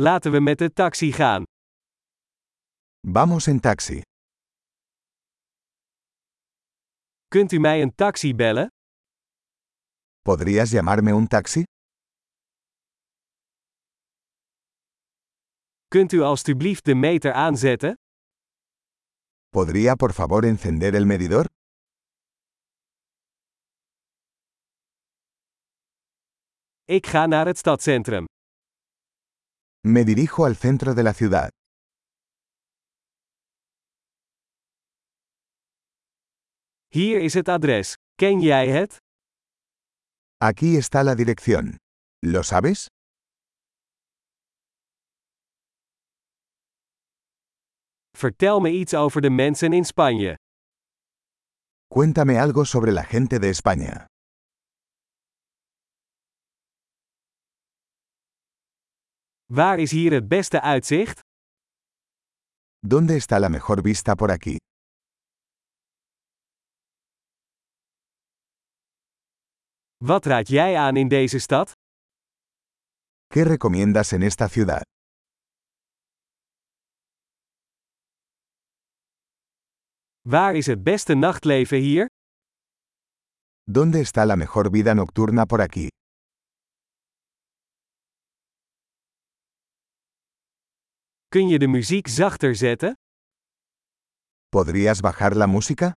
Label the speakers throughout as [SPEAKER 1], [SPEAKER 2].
[SPEAKER 1] Laten we met de taxi gaan.
[SPEAKER 2] Vamos en taxi.
[SPEAKER 1] Kunt u mij een taxi bellen?
[SPEAKER 2] ¿Podrías llamarme un taxi?
[SPEAKER 1] Kunt u alstublieft de meter aanzetten?
[SPEAKER 2] ¿Podría por favor encender el medidor?
[SPEAKER 1] Ik ga naar het stadcentrum.
[SPEAKER 2] Me dirijo al centro de la ciudad.
[SPEAKER 1] Hier is het adres. Ken jij het?
[SPEAKER 2] Aquí está la dirección. ¿Lo sabes?
[SPEAKER 1] Vertel me iets over de mensen in Spanje.
[SPEAKER 2] Cuéntame algo sobre la gente de España.
[SPEAKER 1] Waar is hier het beste uitzicht?
[SPEAKER 2] ¿Dónde está la mejor vista por aquí?
[SPEAKER 1] Wat raad jij aan in deze stad?
[SPEAKER 2] ¿Qué recomiendas en esta ciudad?
[SPEAKER 1] Waar is het beste nachtleven hier?
[SPEAKER 2] ¿Dónde está la mejor vida nocturna por aquí?
[SPEAKER 1] Kun je de muziek zachter zetten?
[SPEAKER 2] ¿Podrías bajar la música?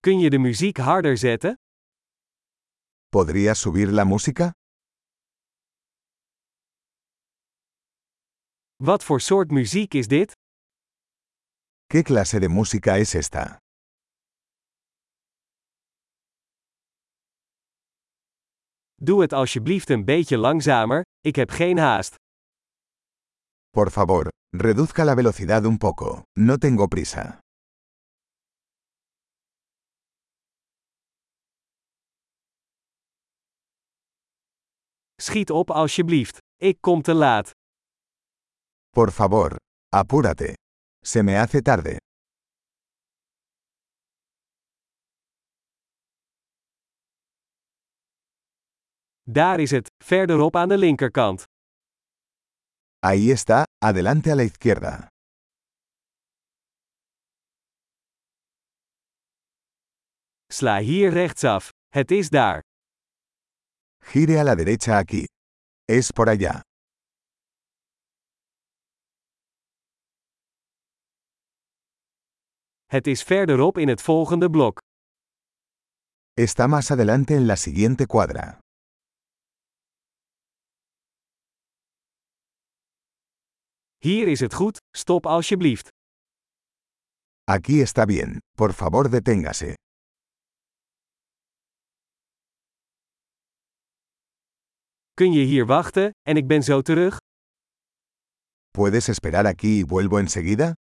[SPEAKER 1] Kun je de muziek harder zetten?
[SPEAKER 2] ¿Podrías subir la música?
[SPEAKER 1] Wat voor soort muziek is dit?
[SPEAKER 2] ¿Qué clase de música es esta?
[SPEAKER 1] Doe het alsjeblieft een beetje langzamer, ik heb geen haast.
[SPEAKER 2] Por favor, reduzca la velocidad un poco. No tengo prisa.
[SPEAKER 1] Schiet op alsjeblieft, ik kom te laat.
[SPEAKER 2] Por favor, apúrate. Se me hace tarde.
[SPEAKER 1] Daar is het, verderop aan de linkerkant.
[SPEAKER 2] Ahí está, adelante a la izquierda.
[SPEAKER 1] Sla hier rechtsaf, het is daar.
[SPEAKER 2] Gire a la derecha aquí. Es por allá.
[SPEAKER 1] Het is verderop in het volgende blok.
[SPEAKER 2] Está más adelante en la siguiente cuadra.
[SPEAKER 1] Hier is het goed, stop alsjeblieft.
[SPEAKER 2] Aquí está bien, por favor deténgase.
[SPEAKER 1] Kun je hier wachten, en ik ben zo terug?
[SPEAKER 2] ¿Puedes esperar aquí y vuelvo enseguida?